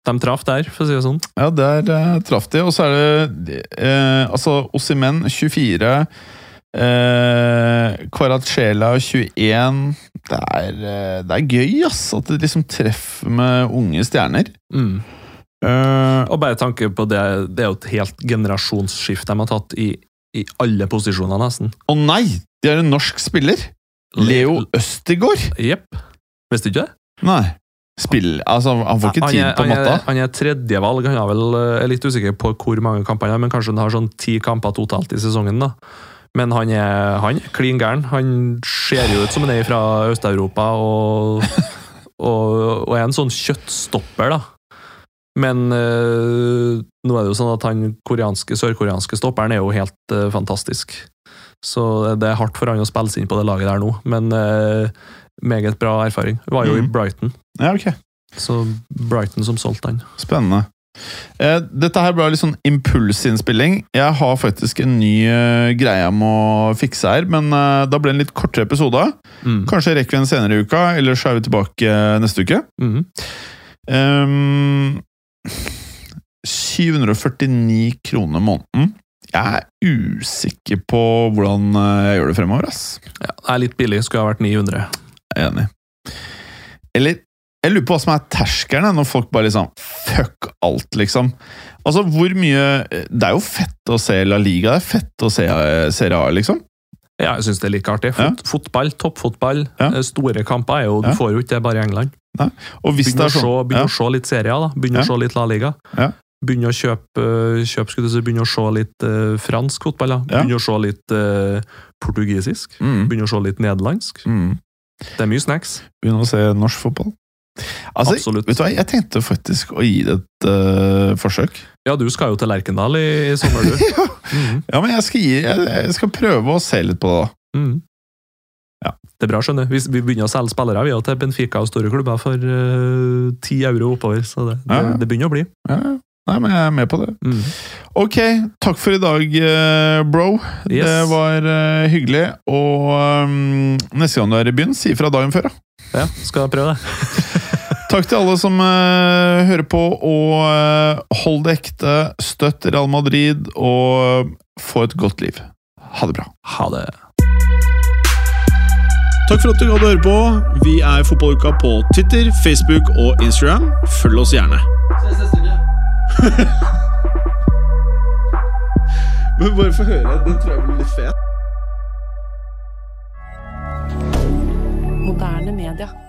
De traff der, for å si det sånn.
Ja, der eh, traff de. Og så er det eh, altså Ossimen 24, eh, Kvaratskhelia 21 det er, eh, det er gøy, ass, at det liksom treffer med unge stjerner.
Mm.
Eh,
Og bare tanke på det, det er jo et helt generasjonsskift de har tatt i, i alle posisjoner, nesten.
Å nei! De er en norsk spiller! Leo Østigård!
Jepp. Visste du ikke det?
Nei. Spill Altså, han får ikke
Ah, Han
tid
er,
på
han er,
matta.
han er tredjevalg. Han har vel, eh, er litt usikker på hvor mange kamper han har, men kanskje han har sånn ti kamper totalt i sesongen. da. Men han er, han er klin gæren. Han ser jo ut som han er fra Øst-Europa, og, *laughs* og, og er en sånn kjøttstopper, da. Men eh, nå er det jo sånn at han koreanske, sørkoreanske stopperen er jo helt eh, fantastisk. Så det er hardt for han å spille seg inn på det laget der nå, men eh, meget bra erfaring. Var jo i
Mhm.
Brighton.
Ja, ok.
Så Brighton som solgte han.
Spennende. Eh, dette her ble litt sånn impulsinnspilling. Jeg har faktisk en ny eh, greie jeg må fikse her, men eh, da ble det en litt kortere episode. Kanskje jeg rekker vi en senere i uka, eller så er vi tilbake eh, neste uke.
Mhm.
Ehm, 749 kroner måneden. Jeg er usikker på hvordan eh, jeg gjør det fremover, ass.
Ja, det er litt billig, skulle ha vært 900.
Jeg er Enig. Eller jeg lurer på hva som er terskelen når folk bare liksom Fuck alt, liksom. Altså, hvor mye Det er jo fett å se La Liga, det er fett å se eh, Serie A, liksom.
Ja, jeg syns det er like artig. Fot, Fotball, toppfotball,
Ja.
eh, store kamper er jo Du
Ja.
får jo ikke det bare i England.
Og hvis
Begynn
det
å
er
se,
sånn
begynn å se litt serier, da. Begynn
Ja.
å se litt La Liga.
Ja.
Begynn å kjøpe, eh, kjøp, skulle du si, begynn å se litt eh, fransk fotball. da.
Ja.
Begynn å se litt eh, portugisisk.
mm,
Begynn å se litt nederlandsk.
mm.
Det er mye snacks.
Begynne å se norsk fotball. Altså,
Absolutt.
vet du hva, jeg tenkte faktisk å gi det et eh, forsøk.
Ja, du skal jo til Lerkendal i, i sommer, du. Mhm.
*laughs* Ja, men jeg skal, gi, jeg, jeg skal prøve å se litt på det, da.
Mhm.
Ja.
Det er bra, skjønner du. Vi, vi begynner å selge spillere vi er jo til Benfica og store klubber for eh, 10 euro oppover, så det, det,
Ja, ja.
det begynner å bli.
Ja, ja. nei, men jeg er med på det.
Mhm.
Ok, takk for i dag, eh, bro.
Yes.
Det var eh, hyggelig. Og ehm, neste gang du er i byen, si fra dagen før. Da.
Ja, skal jeg prøve det.
Takk til alle som eh, hører på, og eh, hold det ekte. Støtt Real Madrid, og eh, få et godt liv. Ha det bra.
Ha det.
Takk for at du gadd å høre på. Vi er Fotballuka på Twitter, Facebook og Instagram. Følg oss gjerne. Men bare få høre. Den tror jeg blir litt fet.
Moderne media.